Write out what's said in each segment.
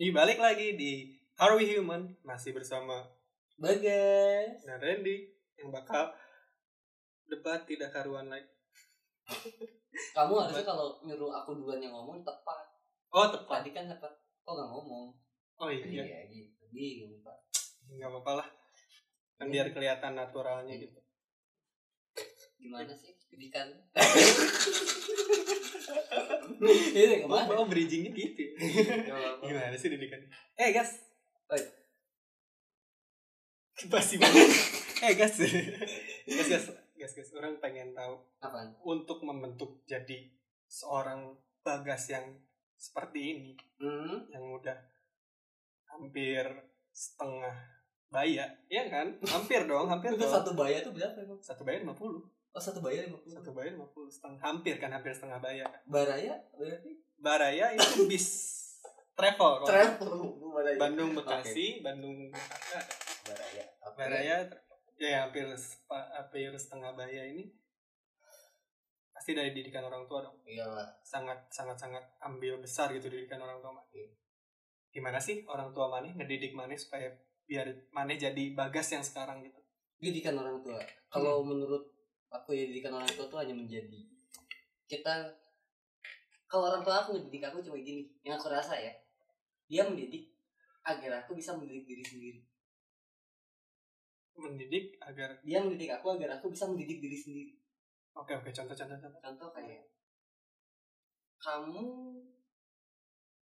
Ih, balik lagi di Are We Human masih bersama Bagas. dan Randy yang bakal debat tidak karuan lagi. Kamu harusnya kalau nyuruh aku duluan yang ngomong tepat. Oh tepat. Tadi kan tepat. Kok nggak ngomong? Oh iya, gitu. Bingung pak. nggak apa-apa lah. Kan biar kelihatan naturalnya gitu. Iya. Gimana sih pendidikan? Ini Oh, kemana? oh bridgingnya gitu. ya. Gimana sih didikan? Eh guys. Oi. Pasti banget. eh guys. guys guys guys guys orang pengen tahu Apaan? untuk membentuk jadi seorang bagas yang seperti ini Hmm. yang udah hampir setengah baya ya kan hampir dong hampir Itu dong. satu bayar tuh berapa emang? satu baya lima puluh Oh satu bayar lima puluh. satu baya lima puluh setengah hampir kan hampir setengah baya Baraya berarti? baraya itu bis travel kalau Travel. Baraya. Oh. Bandung Bekasi Bandung Jakarta. Baraya. Oke. baraya ya hampir sepa- hampir setengah baya ini pasti dari didikan orang tua dong Iya lah. sangat sangat sangat ambil besar gitu didikan orang tua maneh. Iya. Gimana sih orang tua maneh ngedidik maneh supaya biar maneh jadi bagas yang sekarang gitu. didikan orang tua. Kalau menurut aku ya didikan orang tua tuh hanya menjadi kita kalau orang tua aku mendidik aku cuma gini, yang aku rasa ya. Dia mendidik agar aku bisa mendidik diri sendiri. Mendidik agar Dia mendidik aku agar aku bisa mendidik diri sendiri. oke oke contoh contoh contoh. Contoh kayak kamu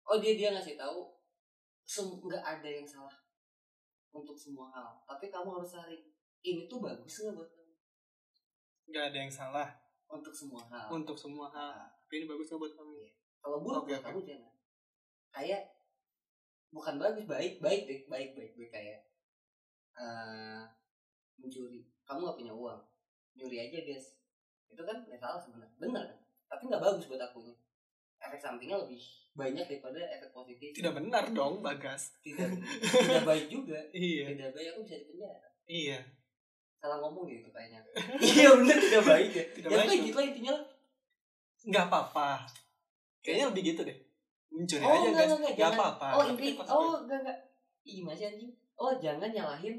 Oh dia dia ngasih tahu sem- nggak ada yang salah untuk semua hal. Tapi kamu harus cari ini tuh bagus nggak buat kamu Gak ada yang salah untuk semua hal. untuk semua hal. Ah. Tapi ini bagus nggak buat kamu. Iya. kalau buruk Oke, buat oke. kamu jangan kayak bukan bagus baik baik deh baik baik baik kayak eh mencuri kamu nggak punya uang nyuri aja guys itu kan nggak salah sebenarnya benar kan tapi nggak bagus buat akunya efek sampingnya lebih banyak daripada efek positif Tidak benar dong bagas. tidak tidak baik juga Iya tidak baik aku bisa dipenjara iya salah ngomong gitu kayaknya iya benar tidak baik ya tidak ya baik. kayak dong. gitu lah intinya lah Nggak apa-apa. Kayaknya lebih gitu deh. Mencuri Oh, aja enggak, guys. enggak, enggak, Nggak jangan. apa-apa. Oh, Nah, Tapi inti konsekuensi- oh enggak enggak. Ih, gimana sih anjing? Oh, jangan nyalahin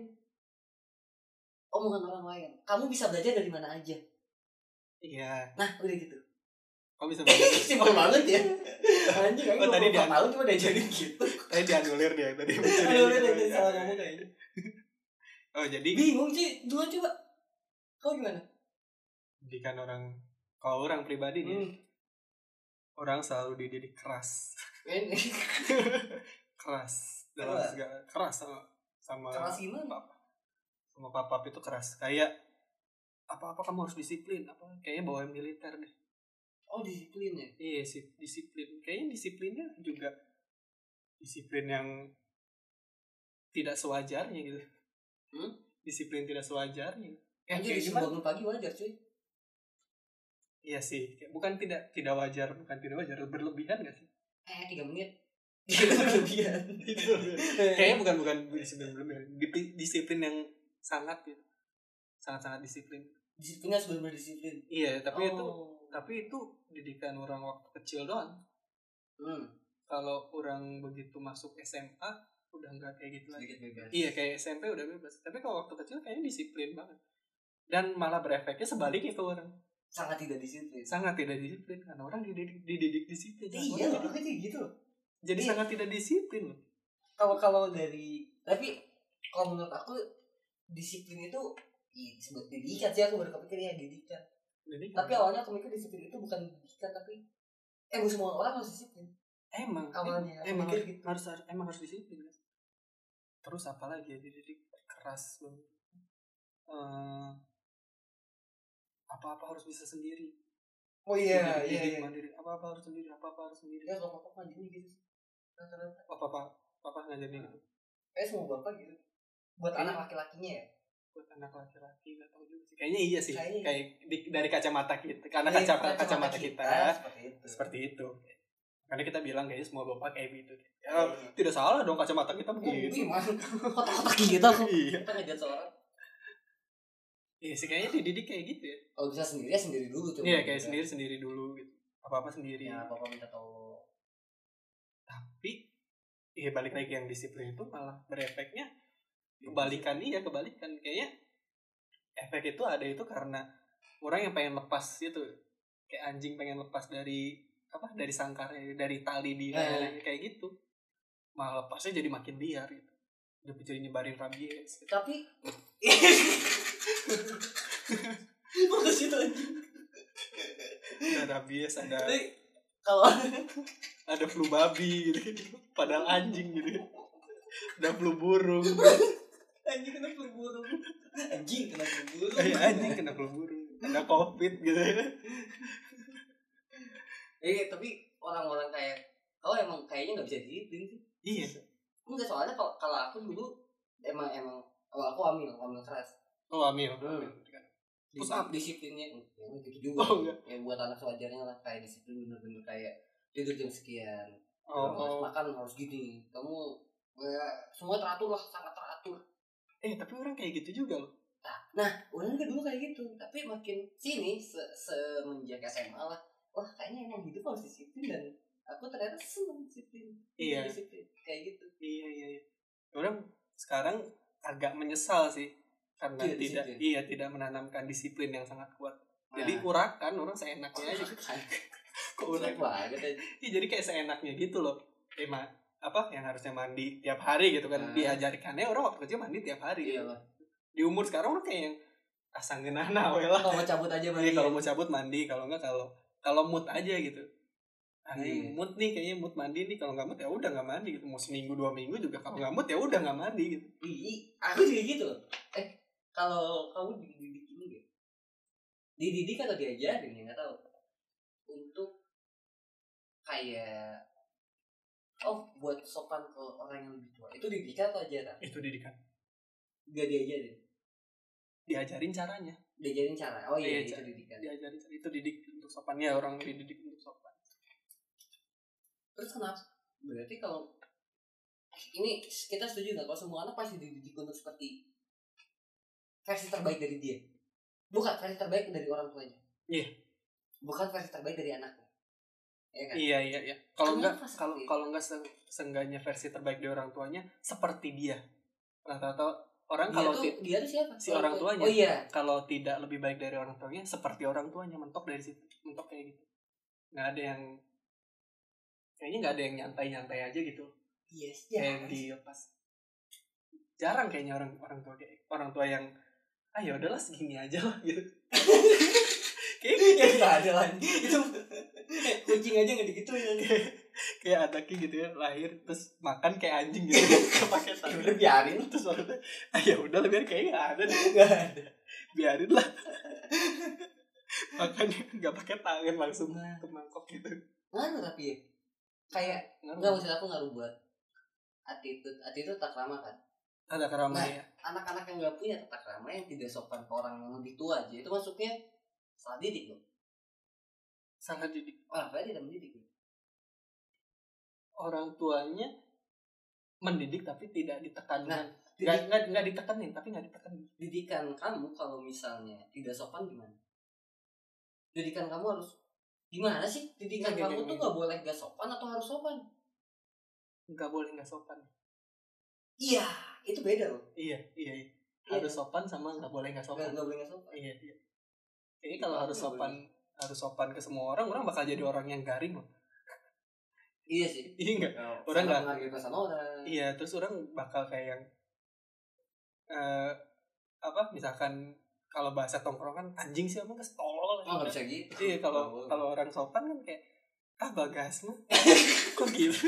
omongan orang lain. Kamu bisa belajar dari mana aja. Iya. Nah, udah gitu. Kamu bisa belajar. Simpel banget ya. Anjing, Oh, aku tadi tadi dia- tahu cuma udah jadi gitu. Tadi dianulir dia tadi. mencuri. gitu ya. Aduh, udah jadi salah ngomong kayaknya. Oh, jadi Bingung sih, dua coba. Kau gimana? didikan orang kalau orang pribadi nih Hmm. orang selalu dididik keras Men, keras dalam Keras. segala keras sama sama keras gimana? Hmm. sama papa itu keras kayak apa-apa kamu harus disiplin apa kayaknya bawa militer deh Oh, disiplin ya. iya si- disiplin kayaknya disiplinnya juga disiplin yang tidak sewajarnya gitu Hmm? disiplin tidak sewajarnya Eh, Anjir, kayak disiplin gimana? bangun pagi wajar sih. Iya sih, Kayak bukan tidak tidak wajar, bukan tidak wajar, berlebihan gak sih? Eh, tiga menit. Itu Kelebihan. kayaknya Iya. bukan bukan disiplin belum ya. Dipi- disiplin yang sangat gitu sangat sangat disiplin Disiplinnya harus benar disiplin. iya tapi itu Oh. tapi itu didikan orang waktu kecil doang Hmm. kalau orang begitu masuk SMA udah nggak kayak gitu lagi sedikit bebas. iya kayak SMP udah bebas tapi kalau waktu kecil kayaknya disiplin banget dan malah berefeknya sebaliknya ke orang Sangat tidak disiplin. sangat tidak disiplin karena orang dididik, dididik disiplin Iya, Orang jadi, makanya kayak gitu loh. jadi Iya. sangat tidak disiplin loh. Kalau kalau dari tapi kalau menurut aku disiplin itu ya, disebut didikan sih aku baru kepikir ya didikan. jadi Tapi awalnya aku mikir disiplin itu bukan didikan tapi emang semua orang harus disiplin emang awalnya. Aku emang mikir harus, gitu. harus harus- emang harus disiplin kan? terus apa lagi ya dididik keras banget Eh, apa-apa harus bisa sendiri Oh iya Dididik- iya didik iya. mandiri apa-apa harus sendiri apa-apa harus sendiri Oh, Ya kalau bapak mandiri gitu. sih. Rata-rata. apa-apa apa ngajarin itu Kayak semua bapak gitu. Buat Iya. anak laki-lakinya ya. buat anak laki-laki nggak tahu juga sih kayaknya iya sih Kayaknya. kayak di- dari kacamata kita karena Iya, kaca- kacamata kita, seperti itu. seperti itu karena kita bilang kayaknya semua bapak kayak gitu ya, Iya. tidak salah dong kacamata kita Wih, begitu Oh, mah. Kotak-kotak gitu aku. iya Kita ngejat seorang. iya sih kayaknya dididik kayak gitu ya Kalau bisa sendiri ya sendiri dulu coba. Iya kayak sendiri sendiri dulu gitu. Apa apa sendiri. Ya bapak minta tolong. Tapi ya balik lagi yang disiplin itu malah berefeknya kebalikan iya kebalikan kayaknya efek itu ada itu karena orang yang pengen lepas gitu kayak anjing pengen lepas dari apa dari sangkarnya dari tali di Ya, ya. kayak gitu malah lepasnya jadi makin liar gitu udah jadi nyebarin rabies gitu. tapi fokus itu anjing. ada rabies ada tapi kalau ada flu babi gitu padahal anjing gitu ada flu burung anjing kena flu burung anjing kena flu burung Eh, anjing kena flu burung ada covid gitu eh tapi orang-orang kayak kau emang kayaknya nggak bisa disiplin sih iya enggak soalnya kalau kalau aku dulu emang emang kalau aku hamil hamil keras oh amil Push Disiplin- up. disiplinnya ya, gitu juga Oh, enggak. ya buat anak sewajarnya lah kayak disiplin bener-bener kayak tidur jam sekian oh, kamu harus oh. makan harus gini kamu ya, semua teratur lah sangat teratur eh tapi orang kayak gitu juga loh nah, nah orang juga dulu kayak gitu tapi makin sini se- semenjak SMA lah wah kayaknya emang hidup harus disiplin dan aku ternyata seneng disiplin Iya. disiplin kayak gitu iya iya iya orang sekarang agak menyesal sih karena Tidak tidak, disiplin. iya tidak menanamkan disiplin yang sangat kuat jadi nah, urakan orang seenaknya aja kok kurang urakan banget aja. Iya, jadi kayak seenaknya gitu loh emang apa yang harusnya mandi tiap hari gitu kan Hmm. diajarkannya orang waktu kecil mandi tiap hari iya lah di umur sekarang orang kayak yang "Ah, asal genana we lah kalau mau cabut aja Iya, mandi kalau mau cabut mandi kalau enggak kalau kalau mood aja gitu ah ini Iya. mood nih kayaknya mood mandi nih kalau nggak mood ya udah nggak mandi gitu mau seminggu dua minggu juga kalau nggak mood ya udah nggak mandi gitu Ih, aku juga gitu loh. eh kalau kamu dididik ini gak dididik atau diajarin ya nggak tahu untuk kayak oh buat sopan ke orang yang lebih tua itu didikan atau ajaran itu didikan gak diajarin diajarin caranya diajarin cara oh Iya, iya, itu cara. didikan diajarin cara- itu didik untuk sopan ya orang dididik untuk sopan terus kenapa berarti kalau ini kita setuju nggak kalau semua anak pasti dididik untuk seperti versi terbaik dari dia bukan versi terbaik dari orang tuanya Iya. bukan versi terbaik dari anaknya Iya kan iya iya iya kalau nggak Kenapa seperti kalau itu? kalau nggak se- seenggaknya versi terbaik dari orang tuanya seperti dia rata-rata orang dia kan kalau tuh ti- dia tuh siapa si orang tuanya. oh iya kalau tidak lebih baik dari orang tuanya seperti orang tuanya mentok dari situ mentok kayak gitu nggak ada yang kayaknya nggak ada yang nyantai nyantai aja gitu yes kayak dilepas jarang kayaknya orang orang tua kayak orang tua yang ah ya udahlah segini aja lah gitu ya kayak Iya, nggak ada lagi itu kucing aja nggak digituin kayak, kayak anaknya gitu ya lahir terus makan kayak anjing gitu pakai udah tangan biarin terus orangnya ah ya udah biar kayaknya nggak ada deh nggak ada biarin lah makanya nggak pakai tangan langsung ke mangkok gitu ngaruh tapi ya kayak nggak maksud aku ngaruh buat attitude attitude tak lama kan ada kerama Nah. ya anak-anak yang nggak punya tata krama yang tidak sopan ke orang yang lebih tua aja itu masuknya salah didik loh Oh, sangat didik orang tua tidak mendidik loh. orang tuanya mendidik tapi tidak ditekan Nah, nggak didik- nggak nggak ditekenin tapi nggak ditekenin didikan kamu kalau misalnya tidak sopan gimana didikan kamu harus gimana sih didikan Nggak, kamu gini, tuh gini. nggak boleh gak sopan atau harus sopan nggak boleh nggak sopan iya itu beda loh iya iya, iya. Iya. harus sopan sama nggak boleh nggak nggak sopan nggak boleh nggak sopan iya iya ini kalau Nggak harus boleh. sopan harus sopan ke semua orang orang bakal jadi orang yang garing loh iya sih iya nggak Orang orang nggak- nggak menghargai perasaan orang Iya, terus orang bakal kayak yang eh apa misalkan kalau bahasa tongkrongan anjing sih emang kestolol oh nggak bisa gitu Iya, Nggak kalau boleh. kalau orang sopan kan kayak ah bagas mah kok gitu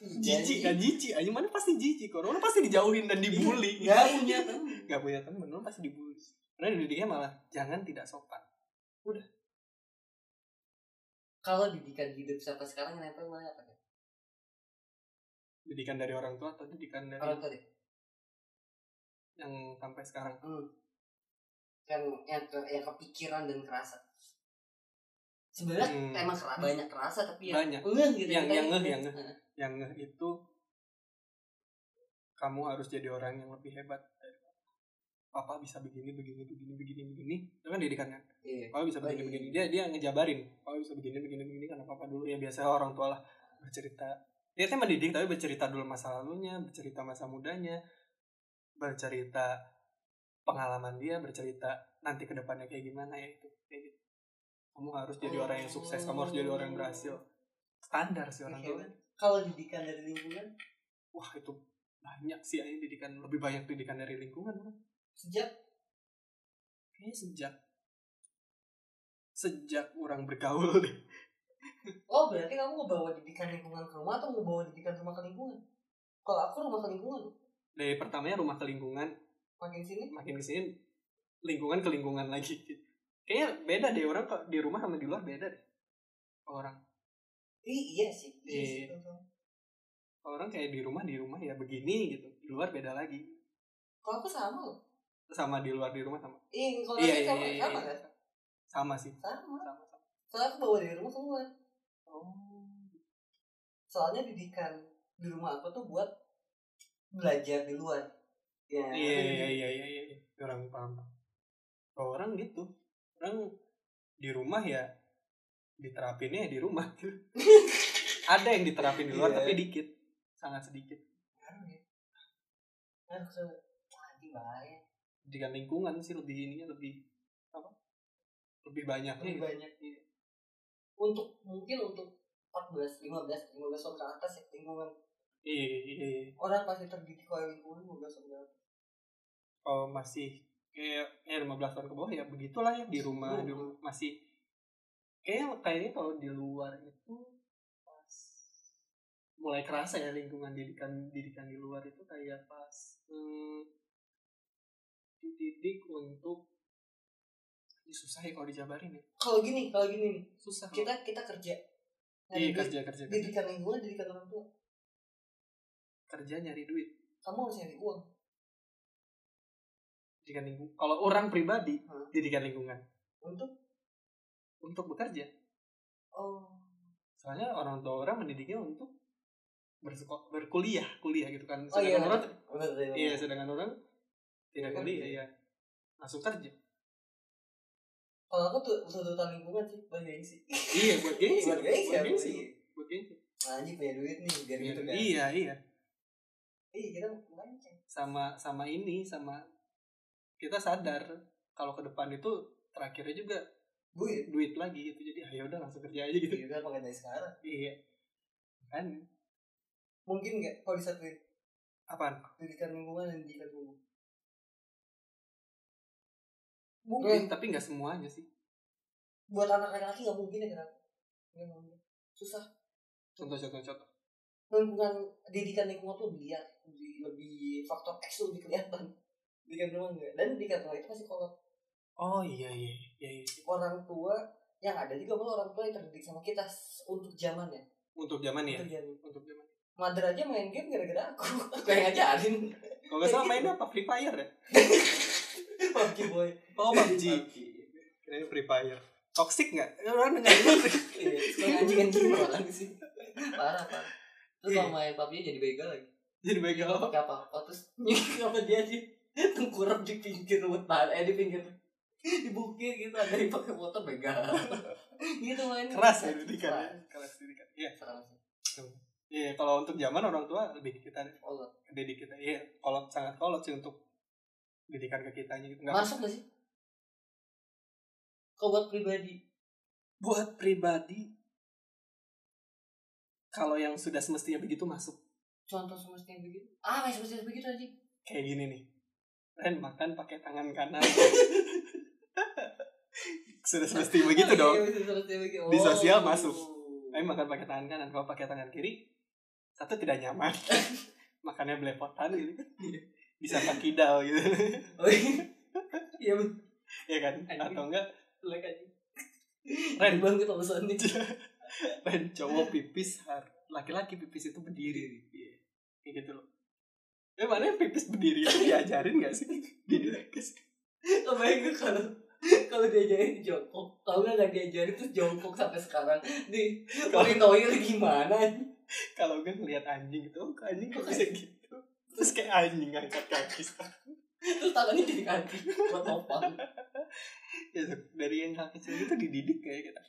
Iya, jijik kan jijik aja mana pasti jijik orang orang pasti dijauhin dan dibully nggak punya teman nggak punya temen orang pasti dibully karena didiknya malah jangan tidak sopan kalau didikan hidup sampai sekarang yang nempel mana apa didikan dari orang tua atau didikan dari orang tua deh yang sampai sekarang Hmm. Yang kan yang ke, yang kepikiran dan kerasa. Sebenarnya Hmm. emang kera, banyak kerasa tapi yang Banyak. ngeh gitu. Yang- kita yang ngeh, gitu. yang ngeh. Heeh. yang ngeh itu kamu harus jadi orang yang lebih hebat dari papa. papa bisa begini begini begini begini begini itu kan didikannya Iya. papa bisa begini Oh, iya. begini dia dia ngejabarin papa bisa begini begini begini karena papa dulu ya biasa orang tua lah bercerita niatnya mendidik tapi bercerita dulu masa lalunya bercerita masa mudanya bercerita pengalaman dia bercerita nanti kedepannya kayak gimana ya itu kayak gitu kamu harus jadi orang yang sukses kamu harus jadi orang yang berhasil standar sih orang Oke. tua Kalau didikan dari lingkungan wah itu banyak sih ini didikan lebih banyak didikan dari lingkungan kan? sejak kayaknya sejak sejak orang bergaul deh oh berarti kamu ngebawa didikan lingkungan ke rumah atau ngebawa didikan rumah ke lingkungan? Kalau aku rumah ke lingkungan dari pertamanya rumah ke lingkungan makin sini makin kesini lingkungan ke lingkungan lagi kayaknya beda deh orang kok di rumah sama di luar beda deh orang Ih, iya sih. Iya. sih, Iya. teman-teman. orang kayak di rumah di rumah ya begini gitu di luar beda lagi Kalau aku sama loh. sama di luar di rumah sama Iya, kalau Iya, aku iya, sama, iya, sama iya. kan? sama sih sama Sama. sama Soalnya aku bawa dari rumah keluar. oh Soalnya didikan di rumah aku tuh buat belajar di luar. Ya. iya iya iya iya iya orang paham kalau orang gitu orang di rumah ya diterapinnya ya di rumah ada yang diterapin di luar Iya. tapi dikit sangat sedikit Ngaruh ya. Anu, Ngaruh ke tadi bahaya. dengan lingkungan sih lebih ininya lebih apa lebih banyaknya Lebih gitu. banyak iya. Untuk mungkin untuk 14, 15, 15 tahun ke atas ya lingkungan. iya iya iya. Orang pasti terdidik oleh lingkungan 15 tahun ke atas. kalau masih kayak ya 15 tahun ke bawah ya begitulah ya di rumah Iya. di rumah masih kayaknya kayaknya kalau di luar itu pas mulai kerasa ya lingkungan didikan didikan di luar itu kayak pas hmm, dididik untuk Ini susah ya kalau dijabarin ya Kalau gini, kalau gini nih, susah kita kita kerja. Nah, iya didi- kerja kerja kerja, didikan lingkungan, didikan orang tua. kerja nyari duit Kamu harus nyari uang. didikan lingkungan kalau orang pribadi Hmm. didikan lingkungan untuk untuk bekerja oh soalnya orang tua orang mendidiknya untuk bersekolah berkuliah kuliah gitu kan Oh, iya. sedangkan orang benar benar iya sedangkan orang tidak Tidak kuliah kerja. ya langsung kerja kalau aku tuh tuntutan lingkungan sih buat gengsi iya buat gengsi buat gengsi buat aku gengsi sih buat gengsi anjing punya duit nih biar gitu kan iya iya iya kita mau mancing sama sama ini sama kita sadar kalau ke depan itu terakhirnya juga duit duit lagi gitu jadi ayo udah langsung kerja aja gitu kita pakai dari sekarang iya kan mungkin nggak kalau disatuin apaan pendidikan lingkungan dan pendidikan umum mungkin mungkin tapi nggak semuanya sih buat anak laki-laki nggak mungkin ya kenapa Nggak mungkin. susah contoh contoh contoh lingkungan pendidikan lingkungan tuh lebih liar lebih, lebih faktor X tuh lebih kelihatan pendidikan lingkungan nggak dan pendidikan rumah itu pasti kolot oh iya iya iya, iya. orang tua yang ada juga malah orang tua yang terdidik sama kita s- untuk zamannya untuk zaman ya untuk zaman untuk zaman mother aja main game gara-gara aku aku yang ngajarin Kalau nggak salah mainnya apa? Free Fire ya? PUBG boy Oh PUBG PUBG. Kayaknya Free Fire Toxic nggak? Eh, Orang dengerin iya suka anjingan gini orang di sini parah parah Iya. terus kalau main PUBG jadi begal lagi Jadi begal pakai apa oh, terus apa dia sih tengkurap di pinggir hutan eh di pinggir di bukit gitu ada yang pakai motor begal gitu main Keras ya didikan ya Keras didikan Iya keras Iya kalau untuk zaman orang tua lebih kita Allah didik kita Iya kalau sangat kolot sih untuk didikan ke kitanya gitu Nggak- Masuk gak sih? Kau buat pribadi Buat pribadi Kalau yang sudah semestinya begitu masuk contoh semestinya begitu? Ah, kayak semestinya begitu aja. Kayak gini nih Ren makan pakai tangan kanan Sudah semestinya Oh, begitu iya, dong Di sosial masuk. Tapi makan pakai tangan kanan, kalau pakai tangan kiri satu tidak nyaman. Makannya belepotan gitu. Bisa kidal gitu. Oh iya. Iya, ya kan? Atau enggak like aja. Ren. Ren banget sama Sony. pen cowok pipis har- laki-laki pipis itu berdiri. Iya. Kayak gitu loh. Eh mana yang pipis berdiri itu diajarin gak sih? Didilekis. Kebayang gak kalau kalau diajarin jongkok, kalau nggak nggak diajarin terus jongkok sampai sekarang di Kalau- Orinoil gimana? Kalau gue ngeliat anjing gitu, oh, anjing kok bisa gitu? Terus kayak anjing angkat kaki. Terus tangannya jadi kaki buat topang. ya dari yang hal kecil itu dididik kayak kita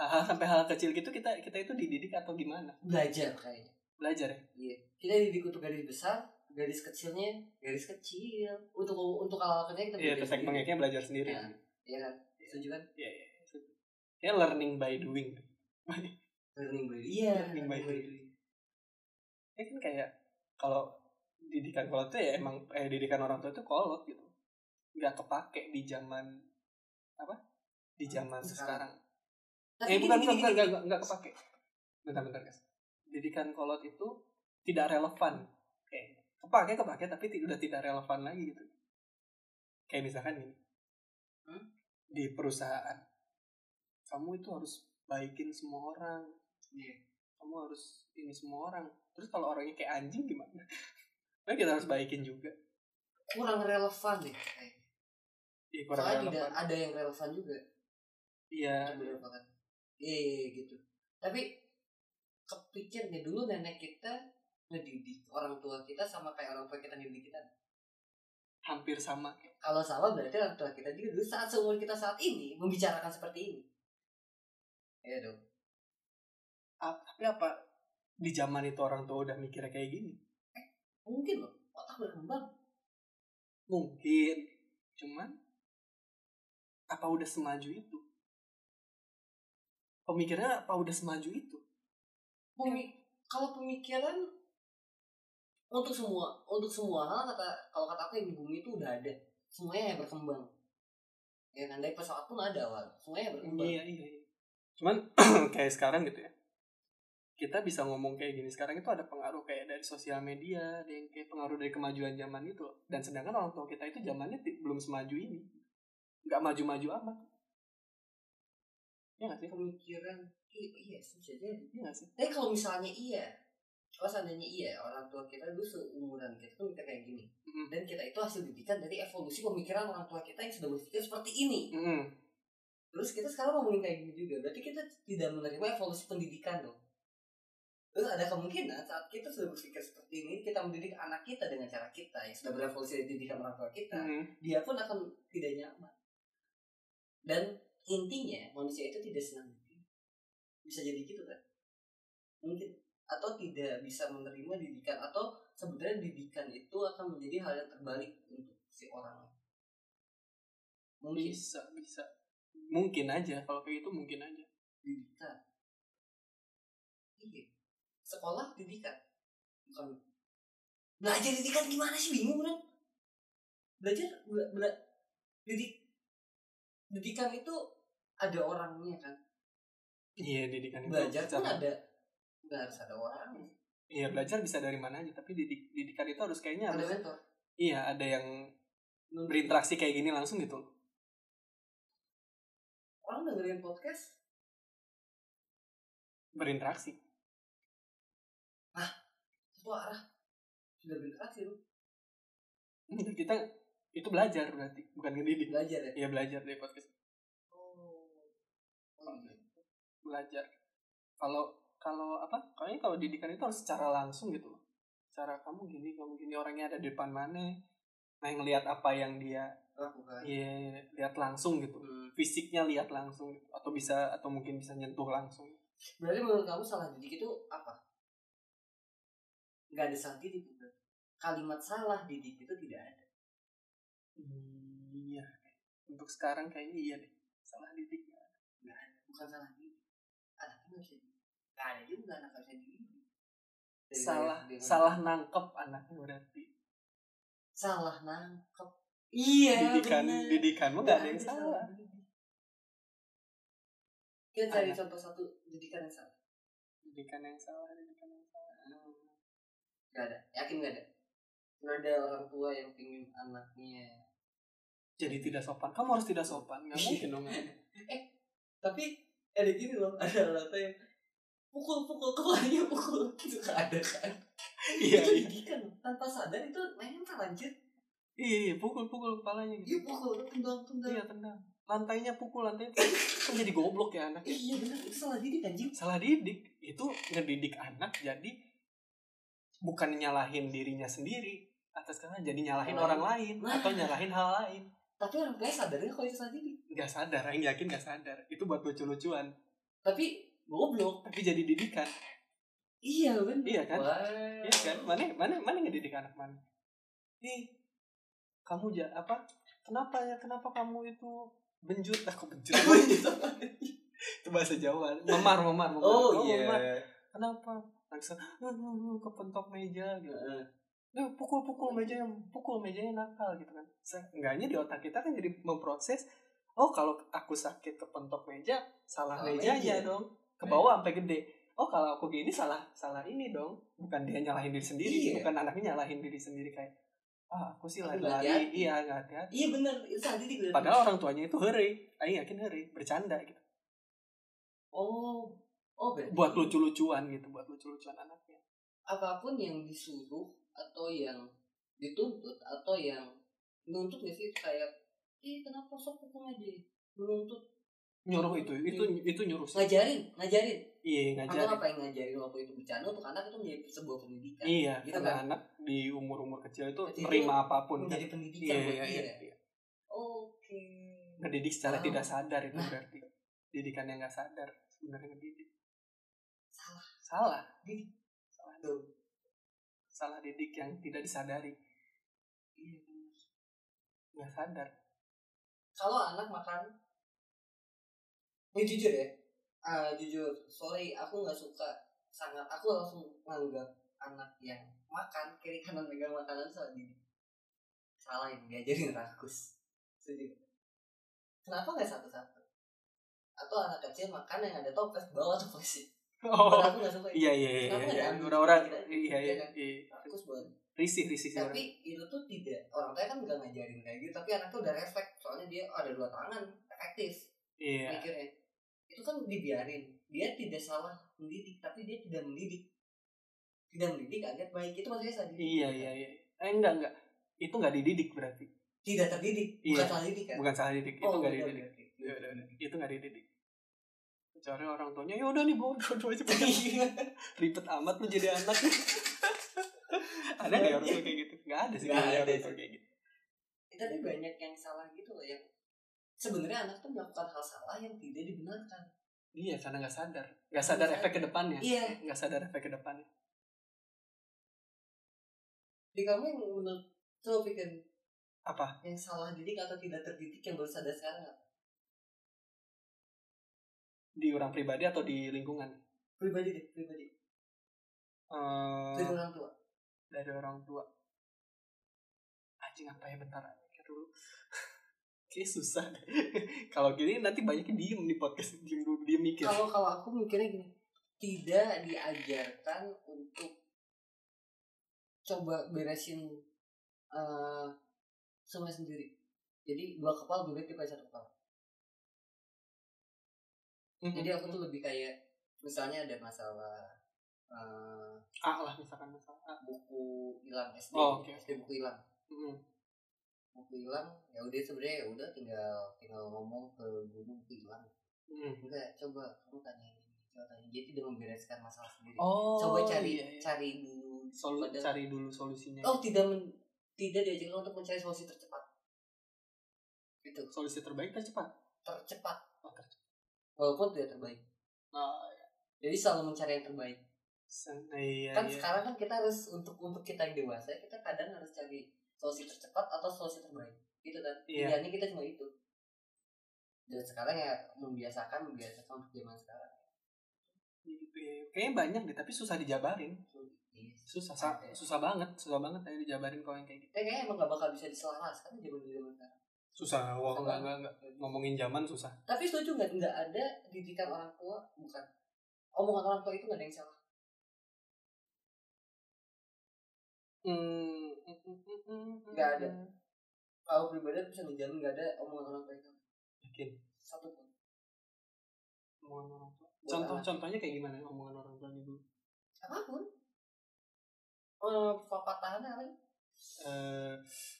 hal-hal sampai hal kecil gitu kita kita itu dididik atau gimana Belajar kayaknya. belajar ya Iya. Kita dididik untuk garis besar, garis kecilnya, garis kecil. Untuk untuk hal-hal kecil kita iya belajar teknik sendiri. mengeknya belajar sendiri Iya. Iya kan? Setuju kan? iya iya ya learning by doing Learning by Iya, Learning by doing. doing. ya kan kayak kalau didikan kolot tuh ya emang eh didikan orang tua itu kolot gitu nggak kepake di zaman apa di zaman Hmm, sekarang, Sekarang. Tapi eh gini, bukan gini, bukan bukan gini. nggak nggak- nggak kepake bentar bentar guys didikan kolot itu tidak relevan kayak kepake kepake tapi ti- udah tidak relevan lagi gitu kayak misalkan ini Hmm? di perusahaan kamu itu harus baikin semua orang Iya. kamu harus ini semua orang terus kalau orangnya kayak anjing gimana Nah kita harus baikin juga Kurang relevan deh. kayaknya. Iya kurang Soalnya tidak relevan. ada yang relevan juga. Iya beberapa kan. Iya, iya, iya, gitu. Tapi kepikir nih dulu nenek kita ngedidik orang tua kita sama kayak orang tua kita ngedidik kita. hampir sama Kalau sama berarti orang tua kita juga dulu saat seumur kita saat ini membicarakan seperti ini. Iya dong. A- Tapi apa di zaman itu orang tua udah mikirnya kayak gini mungkin loh otak berkembang Mungkin Cuman Apa udah semaju itu Pemikirannya apa udah semaju itu Pemi- kalau pemikiran untuk semua untuk semua hal kata kalau kata aku yang di bumi itu udah ada semuanya yang berkembang ya kan dari pesawat pun ada awal semuanya yang berkembang Iya iya iya. Cuman kayak sekarang gitu ya kita bisa ngomong kayak gini sekarang itu ada pengaruh kayak dari sosial media ada yang kayak pengaruh dari kemajuan zaman itu loh. dan sedangkan orang tua kita itu zamannya ti- belum semaju ini nggak maju-maju amat ya nggak sih pemikiran iya iya sih, bisa jadi Iya nggak sih tapi kalau misalnya iya kalau seandainya iya orang tua kita dulu seumuran kita tuh mikir kayak gini Mm-mm. dan kita itu hasil didikan dari evolusi pemikiran orang tua kita yang sudah berpikir seperti ini Mm-mm. Terus kita sekarang ngomongin kayak gini juga, berarti kita tidak menerima evolusi pendidikan dong. Terus ada kemungkinan saat kita sudah berpikir seperti ini, kita mendidik anak kita dengan cara kita yang sudah berevolusi dari didikan orang tua kita, Mm-mm. dia pun akan tidak nyaman. Dan intinya manusia itu tidak senang dididik. Bisa jadi gitu kan? Mungkin atau tidak bisa menerima didikan atau sebenarnya didikan itu akan menjadi hal yang terbalik untuk si orang. Mungkin bisa bisa mungkin aja kalau kayak gitu mungkin aja didikan iya sekolah didikan bukan belajar didikan gimana sih bingung kan belajar bela, bela- didik didikan itu ada orangnya kan iya didikan itu belajar pun secara- ada nggak harus ada orangnya iya belajar bisa dari mana aja tapi didik- didikan itu harus kayaknya ada harus mentor iya ada yang berinteraksi kayak gini langsung gitu orang dengerin podcast berinteraksi satu arah sudah berinteraksi lu Enggak, kita itu belajar berarti bukan ngedidik belajar ya ya belajar dari podcast oh, iya. belajar kalau kalau apa kayaknya kalau didikan itu harus secara langsung gitu loh cara kamu gini kamu gini orangnya ada di depan mana nah ngelihat apa yang dia lakukan ya lihat langsung gitu Hmm. fisiknya lihat langsung gitu. atau bisa atau mungkin bisa nyentuh langsung Berarti menurut kamu salah didik itu apa? Gak ada salah didik bener. Kalimat salah didik itu tidak ada. iya untuk sekarang kayaknya iya deh salah didik Iya, Bukan salah didik. Anak itu harus didik. Gak ada juga anak harus didik. Dari salah lahir- dari salah nangkep anaknya berarti lahir. salah nangkep. Iya didikan bener. Iya, didikanmu nggak ada yang salah didik. Kita cari Anak. contoh satu didikan yang salah. didikan yang salah didikan yang salah Gak ada. Yakin gak ada? Gak ada orang tua yang pingin anaknya jadi tidak sopan kamu harus tidak sopan nggak mungkin dong Iya. tapi ada gini loh ada orang tua yang pukul pukul kepalanya pukul itu nggak ada kan iya itu iya didikan tanpa sadar itu mental anjir iya iya, pukul pukul kepalanya dia gitu pukul tendang tendang iya tendang lantainya pukul lantainya pukul. kan jadi goblok ya anak iya benar itu salah didik anjing salah didik itu ngedidik anak jadi bukan nyalahin dirinya sendiri atas karena jadi nyalahin Orang orang lain Nah. atau nyalahin hal lain tapi orang tuanya sadarnya kalau itu salah didik nggak sadar yang yakin nggak sadar itu buat lucu-lucuan tapi goblok tapi jadi didikan iya bener Iya kan? Wah. Iya kan? Mana mana mana ngedidik anak mana? Nih, kamu ja apa? Kenapa ya? Kenapa kamu itu benjut? Aku benjut. Oh, iya. itu bahasa Jawa. Memar, memar, memar. Kamu oh iya memar. Kenapa? Langsung "Uh, uh, uh," kepentok meja gitu. Heeh. Duh, pukul-pukul mejanya, pukul mejanya nakal gitu kan. Seenggaknya di otak kita kan jadi memproses, oh kalau aku sakit kepentok meja, salah Salah mejanya meja. Iya. dong. Ke bawah sampai gede. Oh kalau aku gini salah, salah ini dong. Bukan dia nyalahin diri sendiri, Iya. bukan anaknya nyalahin diri sendiri kayak, ah aku sih Aku lari-lari, nggak hati-hati. iya nggak hati-hati. iya bener itu saat titik bener Padahal orang tuanya itu heri, Aing yakin heri, bercanda gitu. oh oh berarti Buat lucu-lucuan gitu, buat lucu-lucuan anaknya. apapun yang disuruh atau yang dituntut atau yang nuntut gak sih kayak eh kenapa sok pukul aja menuntut Nyuruh itu, itu Iya. itu nyuruh sih. ngajarin ngajarin Iya atau ngajarin. apa yang ngajarin waktu itu bercanda untuk anak itu menjadi sebuah pendidikan Iya, Gitu karena kan? anak di umur-umur kecil itu Jadi nerima apapun kan. menjadi pendidikan Iya, buat iya, dia iya, iya. oke Ngedidik secara Ah. tidak sadar itu Nah. berarti. Didikan yang nggak sadar sebenarnya ngedidik. Salah. Salah. Didik. Salah. Tuh. Salah didik yang tidak disadari. Iya, bener. Nggak sadar. kalau anak makan ini jujur ya Ah, jujur sorry aku nggak suka sangat aku langsung menganggap anak yang makan kiri kanan megang makanan soal ini salah yang diajarin rakus setuju kenapa nggak satu satu atau anak kecil makan yang ada toples bawa toplesnya Oh. oh. aku nggak suka itu Iya iya iya. Kenapa iya. nggak Orang-orang ambil? iya iya. Iya kan? iya. rakus banget Risih risih sih orang. tapi itu tuh tidak orang tua kan nggak ngajarin kayak gitu tapi anak tuh udah refleks soalnya dia oh, ada dua tangan efektif Iya. mikirnya itu kan dibiarin dia tidak salah mendidik tapi dia tidak mendidik tidak mendidik agar baik itu maksudnya salah didik Iya iya iya. Eh enggak enggak. Itu nggak dididik berarti. tidak terdidik Iya. bukan salah didik kan Bukan salah didik. Itu oh nggak bukan dididik. berarti. Ya udah, udah. itu nggak dididik kecuali orang tuanya ya udah nih bawa dua-dua aja Iya. ribet amat lu jadi anak ada nggak ya orang tua kayak gitu nggak ada sih Nggak kayaknya ada orang tua sih. kayak gitu tapi banyak yang salah gitu loh yang sebenarnya anak tuh melakukan hal salah yang tidak dibenarkan iya karena nggak sadar nggak sadar Nggak efek ke depannya Iya. nggak sadar efek ke depannya di kamu yang menurut tuh pikir Apa? yang salah didik atau tidak terdidik yang baru sadar sekarang nggak? di orang pribadi atau di lingkungan pribadi deh pribadi Eh, dari orang tua dari orang tua anjing apa ya bentar pikir dulu kayak susah deh. kalau gini nanti banyaknya diem di podcast diem dulu diem mikir kalau kalau aku mikirnya gini tidak diajarkan untuk coba beresin eh semua sendiri jadi dua kepala lebih baik daripada satu kepala jadi aku tuh lebih kayak misalnya ada masalah eh, A lah misalkan misalkan A. buku hilang SD Oh, oke. SD buku hilang Mm. buku hilang ya udah sebenarnya ya udah tinggal tinggal ngomong ke guru buku hilang Mm. enggak coba kamu tanya ini coba tanya jadi dia membereskan masalah sendiri Oh, coba cari iya, iya. cari dulu Solu- Padahal- cari dulu solusinya. oh tidak men- tidak diajarkan untuk mencari solusi tercepat itu Solusi terbaik kan cepat. tercepat Oh, tercepat. walaupun tidak terbaik Oh, iya. jadi selalu mencari yang terbaik Sen- iya, kan iya. sekarang kan kita harus untuk untuk kita yang dewasa kita kadang harus cari solusi tercepat atau solusi terbaik gitu kan Iya. pilihannya kita cuma itu dan sekarang ya membiasakan membiasakan untuk zaman sekarang Gitu ya. Kayaknya banyak deh, tapi susah dijabarin. Yes. Susah, sa- Ada. susah banget, susah banget tadi dijabarin kalau yang kayak gitu. Tapi kayaknya emang gak bakal bisa diselaraskan zaman zaman sekarang Susah, wah Susah enggak, banget. enggak, enggak. Ngomongin zaman susah. tapi setuju nggak nggak ada didikan orang tua bukan omongan orang tua itu nggak ada yang salah Hmm, mm, mm, mm, mm, mm. Nggak ada. kalau pribadi aku bisa ngejamin nggak ada omongan orang tua itu Yakin. satu pun Omongan orang tua. Buat Contoh, anak. contohnya kayak gimana ya, omongan orang tua dulu? apapun eh pepatahnya apa ya? Eh,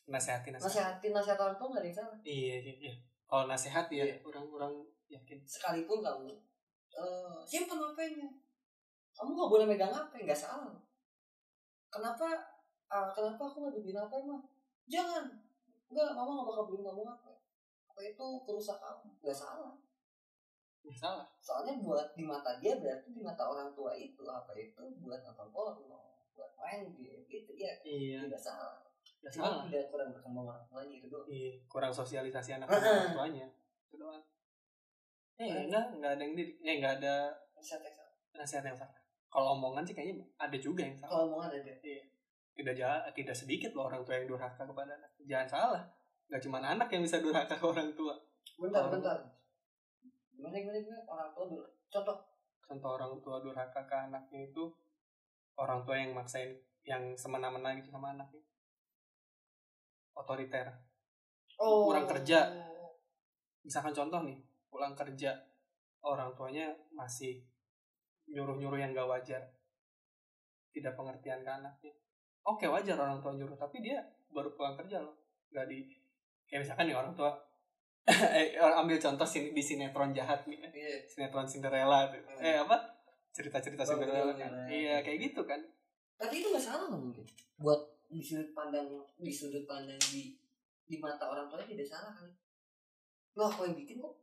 nasehatin, nasehatin. nasihatin nasihat orang tua nggak ada yang salah Iya, iya, iya. Kalau nasehat ya, Iya. orang-orang yakin. sekalipun kamu eh simpan HP-nya kamu nggak boleh megang HP nggak salah kenapa ah, kenapa aku nggak dibeliin HP mah jangan nggak mama nggak bakal beliin kamu HP HP itu perusahaan kamu nggak salah salah soalnya buat di mata dia berarti di mata orang tua itu apa itu buat nonton porno buat main game itu ya iya tidak salah nggak Cuma Iya, salah tidak kurang berkembang orang tuanya itu doang iya kurang sosialisasi anak sama orang Heeh. tuanya itu doang eh enggak enggak ada yang didik- eh enggak ada bisa teks nasihat yang salah kalau omongan sih kayaknya ada juga yang salah kalau omongan ada tidak jahat, tidak sedikit loh orang tua yang durhaka kepada anak jangan salah nggak cuma anak yang bisa durhaka ke orang tua bentar Orang- bentar gimana gimana gimana orang tua dulu contoh contoh orang tua durhaka ke anaknya itu orang tua yang maksain yang semena-mena gitu sama anaknya otoriter oh Kurang kerja. misalkan contoh nih pulang kerja orang tuanya masih nyuruh-nyuruh yang gak wajar tidak pengertian ke anaknya oke wajar orang tua nyuruh tapi dia baru pulang kerja loh gak di kayak misalkan nih orang tua eh, ambil contoh sin- di sinetron jahat nih iya sinetron Cinderella tuh. Hmm. Eh apa? Cerita-cerita Bang Cinderella Cinderella. kan. Iya, kayak gitu kan. tapi itu nggak salah loh mungkin buat di sudut pandang di sudut pandang di di mata orang tuanya tidak salah kali lo aku yang bikin kok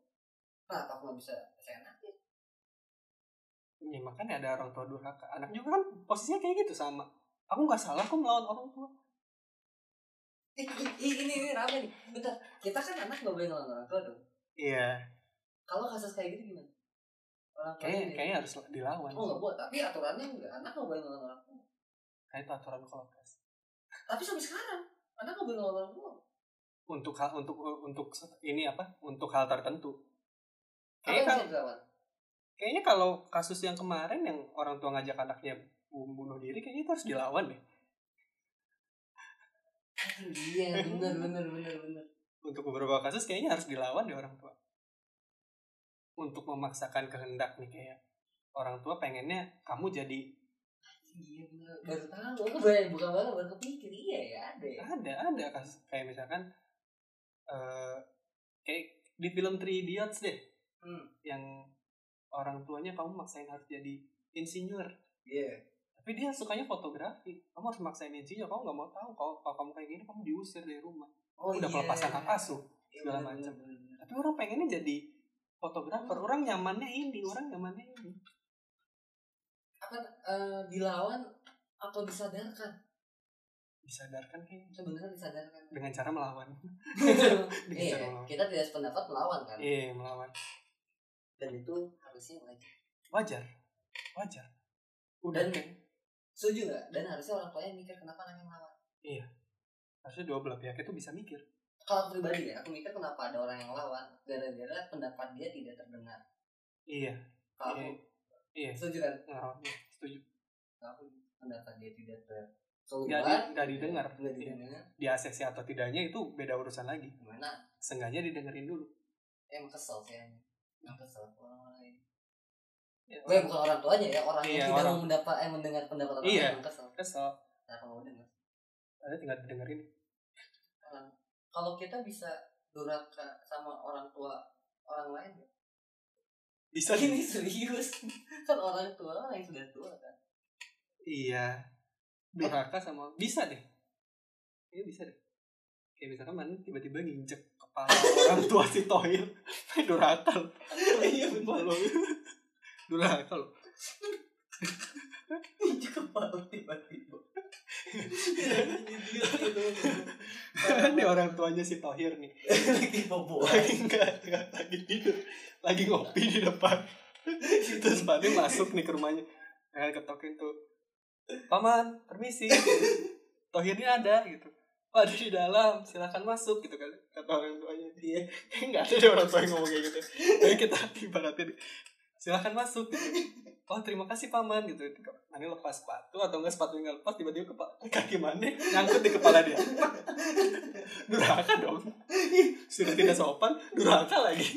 kenapa aku nggak bisa seenaknya Ya makanya ada orang tua durhaka. Anak juga kan posisinya kayak gitu sama. Aku nggak salah aku melawan orang tua. Eh, i- i- ini ini rame nih bentar kita kan anak nggak boleh ngelawan orang tua dong Iya, kalau kasus kayak gitu gimana orang tua kayaknya ini- kayaknya harus dilawan. oh nggak buat tapi aturannya nggak anak nggak boleh ngelawan orang tua Kayak itu aturan kolokas. tapi sampai sekarang anak nggak boleh ngelawan orang tua Untuk hal untuk untuk se- ini apa? Untuk hal tertentu. apa Kayaknya yang kan bisa dilawan kayaknya kalau kasus yang kemarin yang orang tua ngajak anaknya bum- bunuh diri kayaknya itu harus dilawan deh iya benar benar benar benar untuk beberapa kasus kayaknya harus dilawan deh orang tua untuk memaksakan kehendak nih kayak orang tua pengennya kamu jadi iya benar baru tahu aku baru bukan baru baru kepikir iya ya ada ya ada ada kasus kayak misalkan eh kayak di film Three Idiots deh hmm yang orang tuanya kamu maksain harus jadi insinyur iya tapi dia sukanya fotografi kamu harus maksain insinyur kamu nggak mau tahu kalau, kalau kamu kayak gini kamu diusir dari rumah oh udah pelepasan hak asuh Iya, segala benar, macam. benar, benar. tapi orang pengennya jadi fotografer orang nyamannya ini orang nyamannya ini akan eh, dilawan atau disadarkan disadarkan kayaknya sebenarnya disadarkan dengan cara melawan dengan iya cara melawan kita tidak sependapat melawan kan iya melawan dan itu harusnya wajib wajar wajar udah Dan- kan setuju nggak dan harusnya orang tuanya mikir kenapa anaknya melawan harusnya dua belah pihak itu bisa mikir kalau aku pribadi ya aku mikir kenapa ada orang yang melawan gara-gara pendapat dia tidak terdengar iya kalau Iya. aku iya setuju kan Nah, iya, setuju Kalau aku pendapat dia tidak ter nggak keluar di, nggak didengar Iya. nggak didengar di ACC atau tidaknya itu beda urusan lagi gimana seenggaknya didengerin dulu em kesel sih em Em kesel sama orang lain Iya, gue bukan orang tuanya ya orang Iya, yang tidak orang. mau mendapat eh mendengar pendapat orang Iya. lain em kesel kesel nah kalau dengar ada tinggal didengerin orang kalau kita bisa durhaka sama orang tua orang lain ya. bisa ini serius kan orang tua orang yang sudah tua kan iya durhaka sama bisa deh iya bisa deh kayak misalkan mana tiba-tiba nginjek kepala orang tua si Tohir durhaka loh. iya Sumpah lo. durhaka loh Injek kepala tiba-tiba Idiot gitu. Parah. ini orang tuanya si Tohir nih lagi boboan lagi enggak enggak lagi tidur lagi ngopi di depan terus Pak De masuk nih ke rumahnya eh ketokin tuh paman permisi tohirnya ada gitu Pak ada di dalam silakan masuk gitu kan kata orang tuanya dia enggak ada deh orang tua yang ngomong kayak gitu jadi kita ibaratin silakan masuk gitu. oh terima kasih paman gitu mana lepas sepatu atau enggak sepatu enggak lepas tiba-tiba kepa- kaki mana nyangkut di kepala dia durhaka dong sudah tidak sopan durhaka lagi